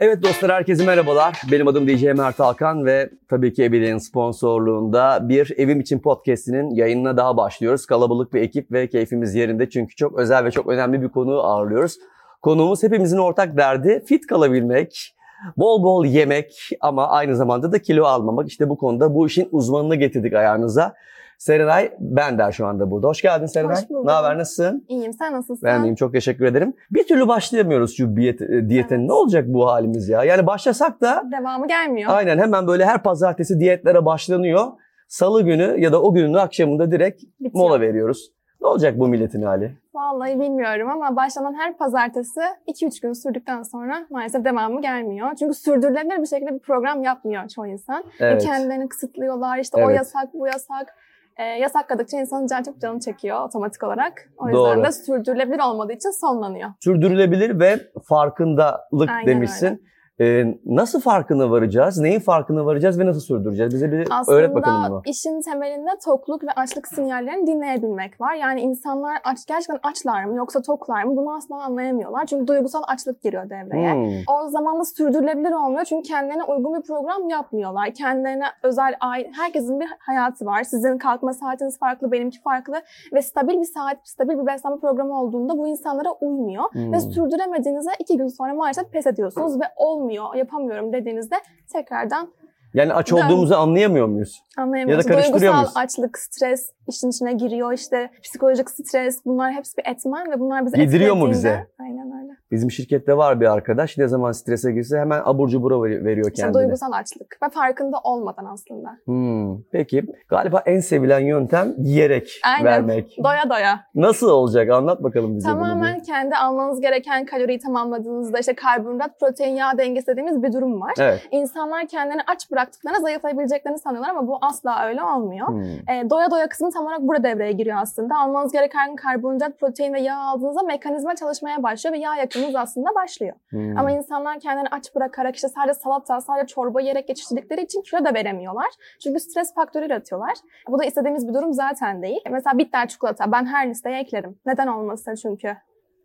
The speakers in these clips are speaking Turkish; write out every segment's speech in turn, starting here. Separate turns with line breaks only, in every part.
Evet dostlar herkese merhabalar. Benim adım DJ Mert Alkan ve tabii ki Ebil'in sponsorluğunda bir Evim İçin Podcast'inin yayınına daha başlıyoruz. Kalabalık bir ekip ve keyfimiz yerinde çünkü çok özel ve çok önemli bir konuğu ağırlıyoruz. Konuğumuz hepimizin ortak derdi fit kalabilmek, bol bol yemek ama aynı zamanda da kilo almamak. İşte bu konuda bu işin uzmanını getirdik ayağınıza. Serenay Bender şu anda burada. Hoş geldin Serenay.
Hoş bulduk.
Ne haber nasılsın?
İyiyim sen nasılsın?
Ben deyim, çok teşekkür ederim. Bir türlü başlayamıyoruz şu diyet, e, diyete.
Evet.
Ne olacak bu halimiz ya? Yani başlasak da
Devamı gelmiyor.
aynen hemen böyle her pazartesi diyetlere başlanıyor. Salı günü ya da o günün akşamında direkt
Bitiyor.
mola veriyoruz. Ne olacak bu milletin hali?
Vallahi bilmiyorum ama başlanan her pazartesi 2-3 gün sürdükten sonra maalesef devamı gelmiyor. Çünkü sürdürülebilir bir şekilde bir program yapmıyor çoğu insan. Ve
Evet.
Kendilerini kısıtlıyorlar işte o
Evet.
yasak bu yasak. Ee, yasakladıkça insanın can çok canı çekiyor otomatik olarak. O yüzden
Doğru.
de sürdürülebilir olmadığı için sonlanıyor.
Sürdürülebilir ve farkındalık
Aynen
demişsin. E, nasıl farkına varacağız? Neyin farkına varacağız ve nasıl sürdüreceğiz? Bize bir öğret bakalım
Aslında
bunu.
işin temelinde tokluk ve açlık sinyallerini dinleyebilmek var. Yani insanlar aç gerçekten açlar mı yoksa toklar mı bunu asla anlayamıyorlar. Çünkü duygusal açlık giriyor devreye.
Hmm.
O zaman da sürdürülebilir olmuyor çünkü kendilerine uygun bir program yapmıyorlar. Kendilerine özel, ay- herkesin bir hayatı var. Sizin kalkma saatiniz farklı, benimki farklı. Ve stabil bir saat, stabil bir beslenme programı olduğunda bu insanlara uymuyor.
Hmm.
Ve sürdüremediğinizde iki gün sonra maalesef pes ediyorsunuz ve olmuyor, yapamıyorum dediğinizde tekrardan
Yani aç olduğumuzu anlayamıyor muyuz?
Anlayamıyoruz.
Ya da karıştırıyor
Duygusal
muyuz?
açlık, stres işin içine giriyor. işte psikolojik stres bunlar hepsi bir etmen ve bunlar bizi
Yediriyor mu
etkilediğinde-
bize?
Aynen öyle.
Bizim şirkette var bir arkadaş. Ne zaman strese girse hemen abur cubura veri- veriyor
İşte
kendine.
duygusal açlık ve farkında olmadan aslında.
Hmm, peki galiba en sevilen yöntem yiyerek
Aynen.
vermek.
Doya doya.
Nasıl olacak anlat bakalım bize bunu.
Tamamen kendi almanız gereken kaloriyi tamamladığınızda işte karbonhidrat, protein, yağ dengesi dediğimiz bir durum var.
bir. Evet.
İnsanlar kendilerini aç bıraktıklarına zayıflayabileceklerini sanıyorlar ama bu asla öyle olmuyor.
Hmm.
E, doya doya kısmı tam olarak burada devreye giriyor aslında. Almanız gereken karbonhidrat, protein ve yağ aldığınızda mekanizma çalışmaya başlıyor ve yağ yakımınız aslında başlıyor.
hmm.
Ama insanlar kendilerini aç bırakarak işte sadece salata, sadece çorba yiyerek geçiştirdikleri için kilo da veremiyorlar. Çünkü stres faktörü yaratıyorlar. Bu da istediğimiz bir durum zaten değil. Mesela bitter çikolata ben her listeye eklerim. Neden olmasın çünkü?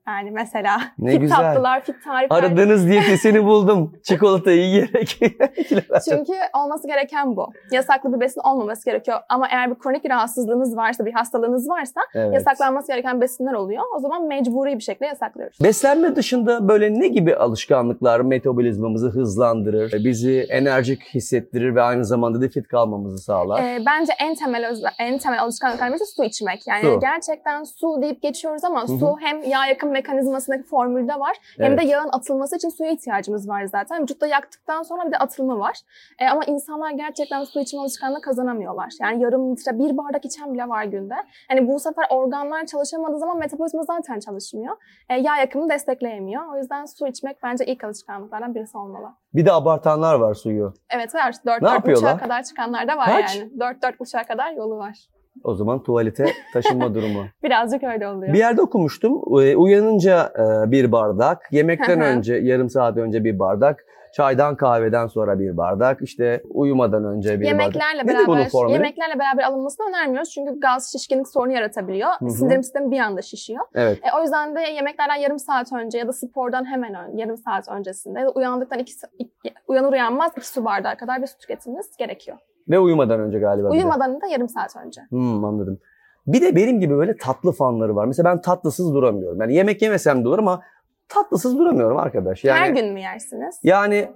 Yani mesela
Ne
fit
güzel.
tatlılar, fit tarifler.
Aradığınız diyetisyeni buldum. Çikolatayı yiyerek. kilo verdim.
Çünkü olması gereken bu. Yasaklı bir besin olmaması gerekiyor. Ama eğer bir kronik rahatsızlığınız varsa, bir hastalığınız varsa
Evet.
yasaklanması gereken besinler oluyor. O zaman mecburi bir şekilde yasaklıyoruz.
Beslenme dışında böyle ne gibi alışkanlıklar metabolizmamızı hızlandırır, e, bizi enerjik hissettirir ve aynı zamanda da fit kalmamızı sağlar?
Ee, bence en temel öz- en temel alışkanlıklarımız da su içmek. Yani
Su.
gerçekten su deyip geçiyoruz ama
hı.
su hem yağ yakım mekanizmasındaki formülde var hem de yağın atılması için suya ihtiyacımız var zaten. Vücutta yaktıktan sonra bir de atılımı var. Ee, ama insanlar gerçekten su içme alışkanlığı kazanamıyorlar. Yani yarım litre, bir bardak içen bile var günde. Hani bu sefer organlar çalışamadığı zaman metabolizma zaten çalışmıyor. Ee, yağ yakımı destekleyemiyor. O yüzden su içmek bence ilk alışkanlıklardan birisi olmalı.
Bir de abartanlar var suyu.
Evet var. 4
Ne yapıyorlar?
uçağa kadar çıkanlar da var
Kaç?
yani. 4 4 uçağa kadar yolu var.
O zaman tuvalete taşınma durumu.
Birazcık öyle oluyor.
Bir yerde okumuştum. e, Uyanınca e, bir bardak, yemekten
Hı hı.
önce yarım saat önce bir bardak, çaydan kahveden sonra bir bardak, işte uyumadan önce bir bardak.
Yemeklerle
Nedir bunun
beraber
formülü?
yemeklerle beraber alınmasını önermiyoruz. Çünkü gaz şişkinlik sorunu yaratabiliyor.
hı.
Sindirim sistemi bir anda şişiyor.
Evet.
E, o yüzden de yemeklerden yarım saat önce ya da spordan hemen ön, yarım saat öncesinde ya da uyandıktan iki, sa- iki- uyanır uyanmaz iki su bardağı kadar bir su tüketmeniz gerekiyor.
Ve uyumadan önce galiba. bir de.
Uyumadan da yarım saat önce.
Hmm, anladım. Bir de benim gibi böyle tatlı fanları var. Mesela ben tatlısız duramıyorum. Yani yemek yemesem de olur ama tatlısız duramıyorum arkadaş. Yani
Her gün mü yersiniz?
yani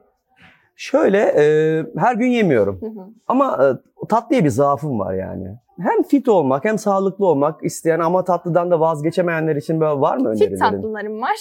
şöyle e, her gün yemiyorum.
Hı hı.
Ama e, tatlıya bir zaafım var yani. Hem fit olmak hem sağlıklı olmak isteyen ama tatlıdan da vazgeçemeyenler için böyle var mı önerilerin?
Fit tatlılarım var.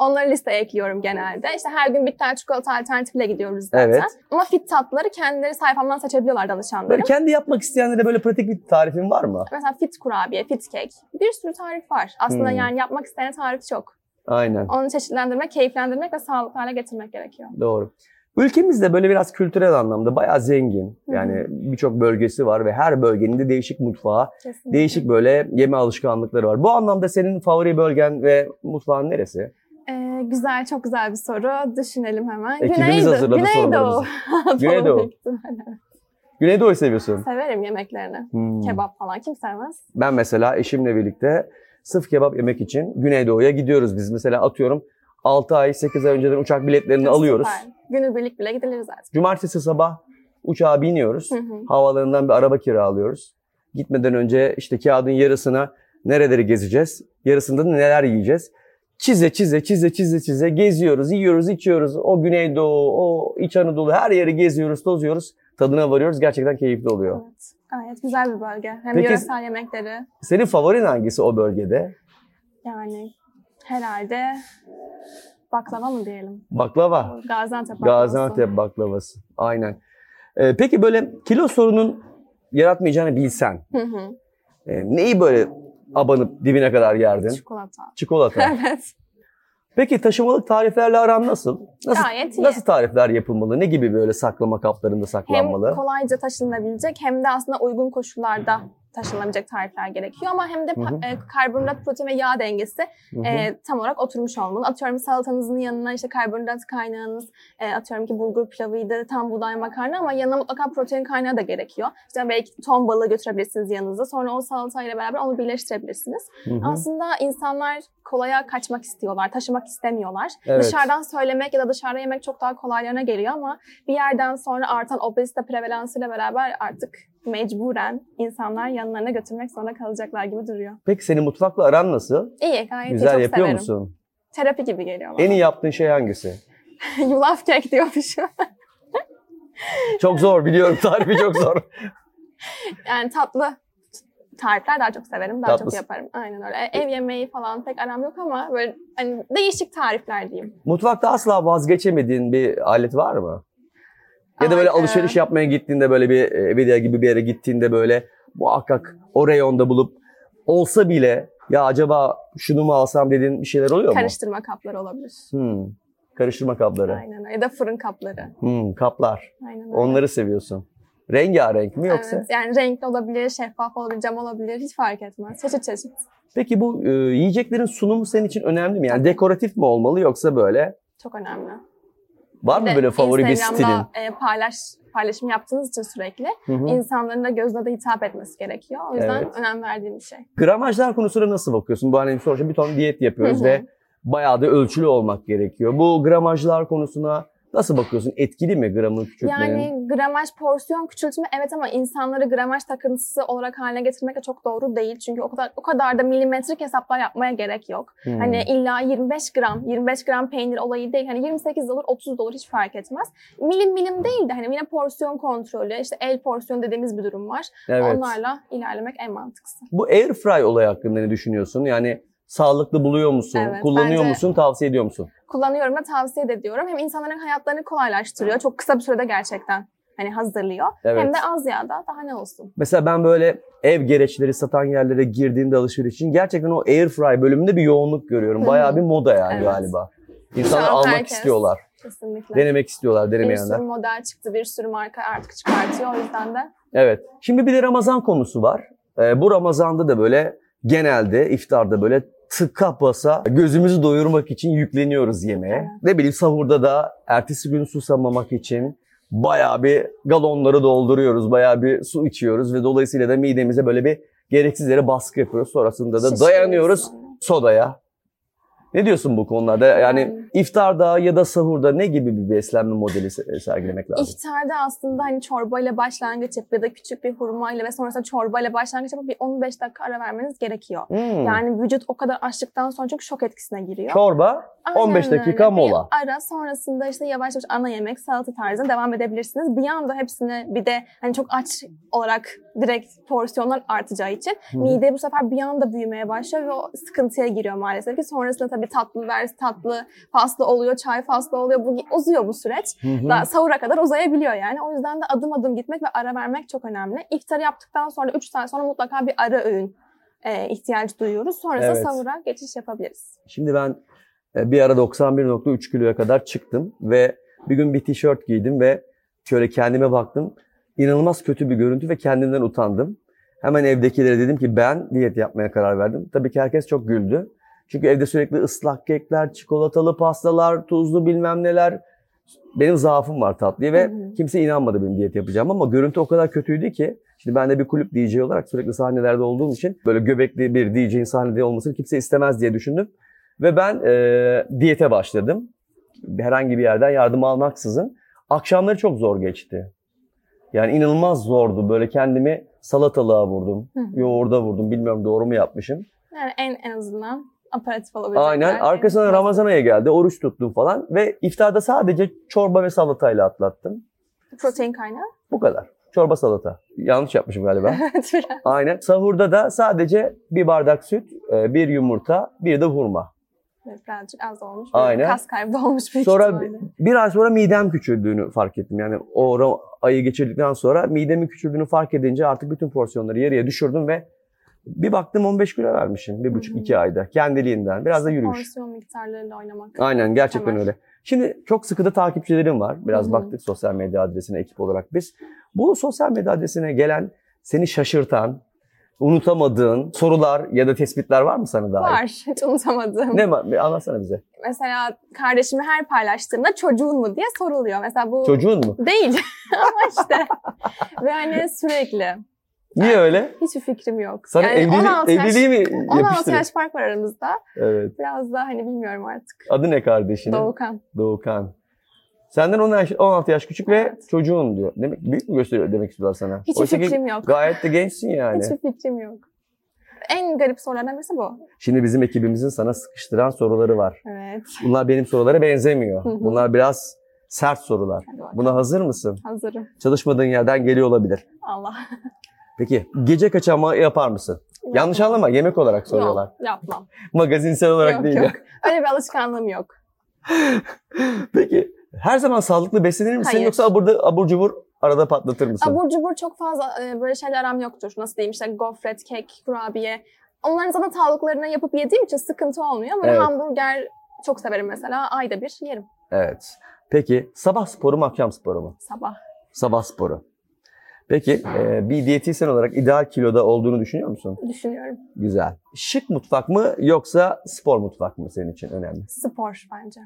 Onları listeye ekliyorum genelde. İşte her gün bitter çikolata alternatifiyle gidiyoruz zaten.
Evet.
Ama fit tatlıları kendileri sayfamdan seçebiliyorlar danışanlarım.
Böyle kendi yapmak isteyenlere böyle pratik bir tarifin var mı?
Mesela fit kurabiye, fit kek. Bir sürü tarif var. Aslında
Hmm.
yani yapmak isteyen tarif çok.
Aynen.
Onu çeşitlendirmek, keyiflendirmek ve sağlıklı hale getirmek gerekiyor.
Doğru. Ülkemizde böyle biraz kültürel anlamda bayağı zengin.
Hı hı.
Yani birçok bölgesi var ve her bölgenin de değişik mutfağı,
Kesinlikle.
değişik böyle yeme alışkanlıkları var. Bu anlamda senin favori bölgen ve mutfağın neresi?
Ee, güzel, çok güzel bir soru. Düşünelim hemen.
Ekibimiz hazırladı
Güneydoğu.
Güneydoğu.
Doğru büyük ihtimalle.
Güneydoğu'yu seviyorsun.
Severim yemeklerini.
Hmm.
Kebap falan kim sevmez?
Ben mesela eşimle birlikte sırf kebap yemek için Güneydoğu'ya gidiyoruz biz. Mesela atıyorum 6 ay 8 ay önceden uçak biletlerini
Süper.
alıyoruz.
Günübirlik bile gidiliriz artık.
Cumartesi sabah uçağa biniyoruz.
Hı hı.
Havaalanından bir araba kiralıyoruz. Gitmeden önce işte kağıdın yarısına nereleri gezeceğiz, yarısında da neler yiyeceğiz. Çize çize çize çize çize geziyoruz, yiyoruz, içiyoruz. O Güneydoğu, o İç Anadolu her yeri geziyoruz, tozuyoruz. Tadına varıyoruz. Gerçekten keyifli oluyor.
Evet. Gayet güzel bir bölge. Hem
Peki-
yöresel yemekleri
Senin favorin hangisi o bölgede?
yani herhalde baklava mı diyelim?
Baklava.
Gaziantep baklavası.
Gaziantep baklavası. Aynen. Ee, peki böyle kilo sorunun yaratmayacağını bilsen
Hı hı.
e, neyi böyle abanıp dibine kadar yerdin?
Çikolata.
Çikolata.
evet.
Peki taşımalık tariflerle aran nasıl? Nasıl,
Gayet iyi.
nasıl tarifler yapılmalı? Ne gibi böyle saklama kaplarında
Hem
saklanmalı?
kolayca taşınabilecek hem de aslında uygun koşullarda taşınabilecek tarifler gerekiyor ama hem de pa-
Hı
e, karbonhidrat, protein ve yağ dengesi
Hı hı.
e, tam olarak oturmuş olmalı. Atıyorum salatanızın yanına işte karbonhidrat kaynağınız, e, atıyorum ki bulgur pilavıydı, tam buğday makarna ama yanına mutlaka protein kaynağı da gerekiyor. İşte belki ton balığı götürebilirsiniz yanınıza. Sonra o salatayla beraber onu birleştirebilirsiniz.
Hı hı.
Aslında insanlar kolaya kaçmak istiyorlar, taşımak istemiyorlar.
Evet.
Dışarıdan söylemek ya da dışarıda yemek çok daha kolaylarına geliyor ama bir yerden sonra artan obezite prevalansıyla beraber artık mecburen insanlar yanlarına götürmek zorunda kalacaklar gibi duruyor.
Peki senin mutfakla aran nasıl?
İyi gayet iyi,
Güzel
çok
yapıyor
severim.
musun?
Terapi gibi geliyor bana.
En iyi yaptığın şey hangisi?
Yulaf kek diyormuşum.
Çok zor biliyorum tarifi çok zor.
Yani tatlı tarifler daha çok severim, daha
Tatlısı.
çok yaparım. Aynen öyle. Ev yemeği falan pek aram yok ama böyle hani değişik tarifler diyeyim.
Mutfakta asla vazgeçemediğin bir alet var mı? Ya da böyle
Ay,
alışveriş
e,
yapmaya gittiğinde böyle bir e, video gibi bir yere gittiğinde böyle muhakkak o reyonda bulup olsa bile ya acaba şunu mu alsam dediğin bir şeyler oluyor mu?
Karıştırma kapları olabilir.
Hmm, Karıştırma kapları.
Aynen öyle. Ya da fırın kapları.
Hmm, kaplar.
Aynen öyle.
Onları seviyorsun. Rengarenk mi yoksa?
Evet, yani renkli olabilir, şeffaf olabilir, cam olabilir hiç fark etmez. Çeşit çeşit.
Peki bu e, yiyeceklerin sunumu senin için önemli mi? Yani dekoratif mi olmalı yoksa böyle?
Çok önemli.
Var mı
Bir de
böyle favori bir stilin?
Instagram'da e, paylaş, paylaşım yaptığınız için sürekli
Hı hı.
insanların da gözüne de hitap etmesi gerekiyor. O yüzden
Evet.
önem verdiğim bir şey.
Gramajlar konusuna nasıl bakıyorsun? Bu hani sonuçta bir ton diyet yapıyoruz
Hı hı.
ve bayağı da ölçülü olmak gerekiyor. Bu gramajlar konusuna nasıl bakıyorsun? Etkili mi gramı küçültmenin?
Yani gramaj porsiyon küçültme evet ama insanları gramaj takıntısı olarak haline getirmek de çok doğru değil. Çünkü o kadar o kadar da milimetrik hesaplar yapmaya gerek yok.
Hmm.
Hani illa 25 gram, 25 gram peynir olayı değil. Hani 28 olur, 30 olur hiç fark etmez. Milim milim değil de hani yine porsiyon kontrolü, işte el porsiyon dediğimiz bir durum var.
evet.
Onlarla ilerlemek en mantıklısı.
Bu airfry olayı hakkında ne düşünüyorsun? Yani sağlıklı buluyor musun?
Evet,
kullanıyor
bence-
musun? Tavsiye ediyor musun?
Kullanıyorum da tavsiye de ediyorum. Hem insanların hayatlarını kolaylaştırıyor. Çok kısa bir sürede gerçekten hani hazırlıyor.
Evet.
Hem de az yağda daha ne olsun.
Mesela ben böyle ev gereçleri satan yerlere girdiğimde alışveriş için gerçekten o airfry bölümünde bir yoğunluk görüyorum.
Hı.
Bayağı bir moda yani
Evet.
galiba. İnsanlar
an
almak
herkes-
istiyorlar.
Kesinlikle.
Denemek istiyorlar
Bir
denemeyenler.
sürü model çıktı, bir sürü marka artık çıkartıyor. O yüzden de
Evet. Şimdi bir de Ramazan konusu var. Ee, bu Ramazan'da da böyle genelde iftarda böyle tıka basa gözümüzü doyurmak için yükleniyoruz yemeğe.
Evet.
Ne bileyim sahurda da ertesi gün susamamak için bayağı bir galonları dolduruyoruz. Bayağı bir su içiyoruz ve dolayısıyla da midemize böyle bir gereksiz yere baskı yapıyoruz. Sonrasında da
şişiriyor
dayanıyoruz
insanı.
sodaya. Ne diyorsun bu konularda? Yani iftarda ya da sahurda ne gibi bir beslenme modeli se- sergilemek lazım?
İftarda aslında hani çorbayla başlangıç yapıp ya da küçük bir hurmayla ve sonrasında çorbayla başlangıç yapıp bir 15 dakika ara vermeniz gerekiyor.
Hmm.
Yani vücut o kadar açlıktan sonra çünkü şok etkisine giriyor.
Çorba,
Aynen
15 dakika
öyle. Bir
mola.
ara sonrasında işte yavaş yavaş ana yemek, salata tarzına devam edebilirsiniz. Bir anda hepsini bir de hani çok aç olarak direkt porsiyonlar artacağı için
Hı hı.
mide bu sefer bir anda büyümeye başlıyor ve o sıkıntıya giriyor maalesef ki. Sonrasında tabii tatlı vers tatlı faslı oluyor, çay faslı oluyor. Bu uzuyor bu süreç.
Hı hı.
Daha sahura kadar uzayabiliyor yani. O yüzden de adım adım gitmek ve ara vermek çok önemli. İftarı yaptıktan sonra 3 saat sonra mutlaka bir ara öğün e, ihtiyaç duyuyoruz. Sonrasında
Evet.
sahura geçiş yapabiliriz.
Şimdi ben e, bir ara 91.3 kiloya kadar çıktım ve bir gün bir tişört giydim ve şöyle kendime baktım. İnanılmaz kötü bir görüntü ve kendimden utandım. Hemen evdekilere dedim ki ben diyet yapmaya karar verdim. Tabii ki herkes çok güldü. Çünkü evde sürekli ıslak kekler, çikolatalı pastalar, tuzlu bilmem neler. Benim zaafım var tatlıya ve
Hı hı.
kimse inanmadı benim diyet yapacağım ama görüntü o kadar kötüydü ki. Şimdi ben de bir kulüp DJ olarak sürekli sahnelerde olduğum için böyle göbekli bir DJ'in sahnede olmasını kimse istemez diye düşündüm. Ve ben e, diyete başladım. Herhangi bir yerden yardım almaksızın. Akşamları çok zor geçti. Yani inanılmaz zordu. Böyle kendimi salatalığa vurdum.
Hı hı.
Yoğurda vurdum. Bilmiyorum doğru mu yapmışım.
Yani en en azından aparatif olabilecek.
Aynen.
belki.
Arkasından Ramazan ayı geldi. Oruç tuttum falan. Ve iftarda sadece çorba ve salatayla atlattım.
Protein kaynağı.
Bu kadar. Çorba salata. Yanlış yapmışım galiba.
Evet, biraz.
Aynen. Sahurda da sadece bir bardak süt, e, bir yumurta, bir de hurma.
Evet, birazcık az olmuş.
Aynen.
Kas kaybı olmuş büyük
Sonra
ihtimalle.
Bir ay sonra midem küçüldüğünü fark ettim. Yani o Ra- ayı geçirdikten sonra midemin küçüldüğünü fark edince artık bütün porsiyonları yarıya düşürdüm ve bir baktım 15 kilo vermişim. Bir buçuk
Hı hı.
iki ayda. Kendiliğinden. Biraz da yürüyüş.
Porsiyon miktarlarıyla oynamak.
Aynen gerçekten
Tamam.
öyle. Şimdi çok sıkı da takipçilerim var. Biraz
Hı hı.
baktık sosyal medya adresine ekip olarak biz. Bu sosyal medya adresine gelen seni şaşırtan, unutamadığın sorular ya da tespitler var mı sana dair?
Var. Hiç unutamadım.
Ne ma- bir anlatsana bize.
Mesela kardeşimi her paylaştığımda çocuğun mu diye soruluyor. Mesela bu
Çocuğun mu?
değil ama işte. Ve hani sürekli.
Niye öyle?
Hiçbir fikrim yok.
Sana
yani
evliliği,
16 yaş,
evliliği mi
16
yapıştırıyor?
yaş fark var aramızda.
Evet.
Biraz daha hani bilmiyorum artık.
Adı ne kardeşinin?
Doğukan.
Doğukan. Senden 10 yaş- 16 yaş küçük ve
Evet.
çocuğun diyor. Demek büyük mü gösteriyor demek istiyorlar sana?
Hiçbir
Oysa ki
fikrim yok.
Gayet de gençsin yani.
Hiçbir fikrim yok. En garip sorulardan birisi bu.
Şimdi bizim ekibimizin sana sıkıştıran soruları var.
Evet.
Bunlar benim sorulara benzemiyor.
Hı hı.
Bunlar biraz sert sorular.
Hadi bakalım.
Buna hazır mısın?
Hazırım.
Çalışmadığın yerden geliyor olabilir.
Allah.
Peki gece kaçama yapar mısın? Yanlış
Yapmam.
anlama yemek olarak soruyorlar.
Yok, yapmam.
Magazinsel olarak
Yok,
değil.
yok. Öyle bir alışkanlığım yok.
Peki her zaman sağlıklı beslenir misin
Hayır.
yoksa burada abur cubur arada patlatır mısın?
Abur cubur çok fazla e, böyle şeyler aram yoktur. Nasıl diyeyim işte gofret, kek, kurabiye. Onların zaten sağlıklarına yapıp yediğim için sıkıntı olmuyor. Ama
Evet.
hamburger çok severim mesela. Ayda bir yerim
Evet. Peki sabah sporu mu akşam sporu mu?
sabah.
Sabah sporu. Peki e, bir diyetisyen olarak ideal kiloda olduğunu düşünüyor musun?
Düşünüyorum.
Güzel. Şık mutfak mı yoksa spor mutfak mı senin için önemli?
Spor bence.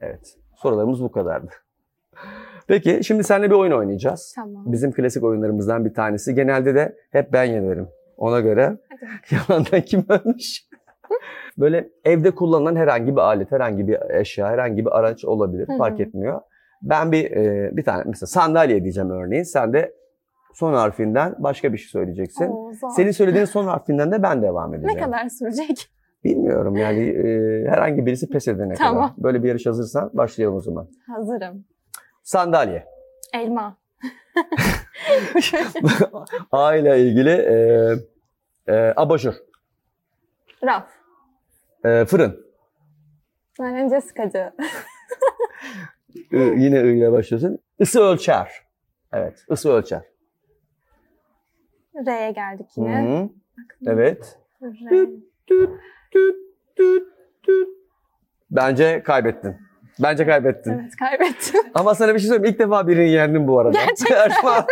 Evet. Sorularımız bu kadardı. Peki şimdi seninle bir oyun oynayacağız.
Tamam.
Bizim klasik oyunlarımızdan bir tanesi. Genelde de hep ben yenerim. Ona göre
Hadi bakalım.
yalandan kim ölmüş? Böyle evde kullanılan herhangi bir alet, herhangi bir eşya, herhangi bir araç olabilir.
Hı hı.
Fark etmiyor. Ben bir e, bir tane mesela sandalye diyeceğim örneğin. Sen de son harfinden başka bir şey söyleyeceksin.
Oo, zor.
Senin söylediğin son harfinden de ben devam
ne
edeceğim.
kadar sürecek?
Bilmiyorum yani e, herhangi birisi pes edene
Tamam.
kadar. Böyle bir yarış hazırsan başlayalım o zaman.
Hazırım.
Sandalye.
Elma.
A ile ilgili e, e, abajur,
Raf.
e, fırın.
Bence sıkıcı.
I- E, yine I ile başlıyorsun. Isı ölçer. Evet, ısı ölçer.
R'ye geldik yine.
Hı hı. Evet.
R.
Tüt, tüt, tüt, tüt. Bence kaybettin. Bence kaybettin.
Evet kaybettim.
Ama sana bir şey söyleyeyim. İlk defa birini yendim bu arada.
Gerçekten.
Her zaman,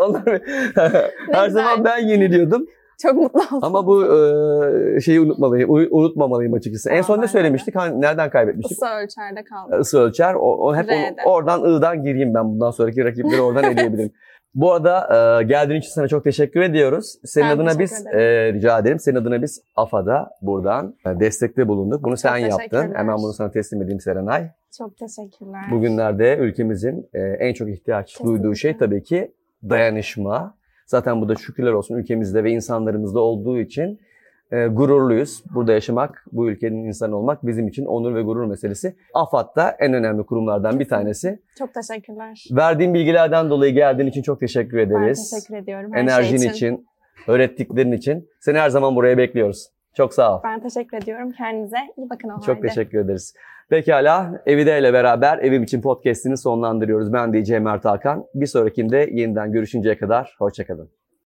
Onlar- her
güzel.
zaman ben yeniliyordum.
Çok mutlu oldum.
Ama bu e, şeyi unutmalıyım, u- unutmamalıyım açıkçası. En
Aa,
son
ben
ne
de
söylemiştik? Hani nereden kaybetmiştik?
Kısa ölçerde kaldım.
ısı ölçer. O, o hep
R'den.
onu- oradan I'dan gireyim ben. Bundan sonraki rakipleri oradan eleyebilirim. Bu arada e, geldiğin için sana çok teşekkür ediyoruz. Senin
Ben
adına
teşekkür
biz e, rica ederim. Senin adına biz AFA'da buradan e, destekte bulunduk. Bunu sen yaptın.
teşekkürler.
Hemen bunu sana teslim edeyim Serenay.
Çok teşekkürler.
Bugünlerde ülkemizin e, en çok ihtiyaç
Kesinlikle.
duyduğu şey tabii ki dayanışma. Zaten bu da şükürler olsun ülkemizde ve insanlarımızda olduğu için e, gururluyuz. Burada yaşamak, bu ülkenin insanı olmak bizim için onur ve gurur meselesi. AFAD'da en önemli kurumlardan bir tanesi.
Çok teşekkürler.
Verdiğin bilgilerden dolayı geldiğin için çok teşekkür
Ben
ederiz.
teşekkür ediyorum. her şey
Enerjin için. öğrettiklerin için. Seni her zaman buraya bekliyoruz. Çok sağ ol.
Ben teşekkür ediyorum. Kendinize iyi bakın o halde.
Çok teşekkür ederiz. Pekala Evide ile beraber Evim için podcast'ini sonlandırıyoruz. Ben DJ Mert Hakan. Bir sonrakinde yeniden görüşünceye kadar hoşçakalın.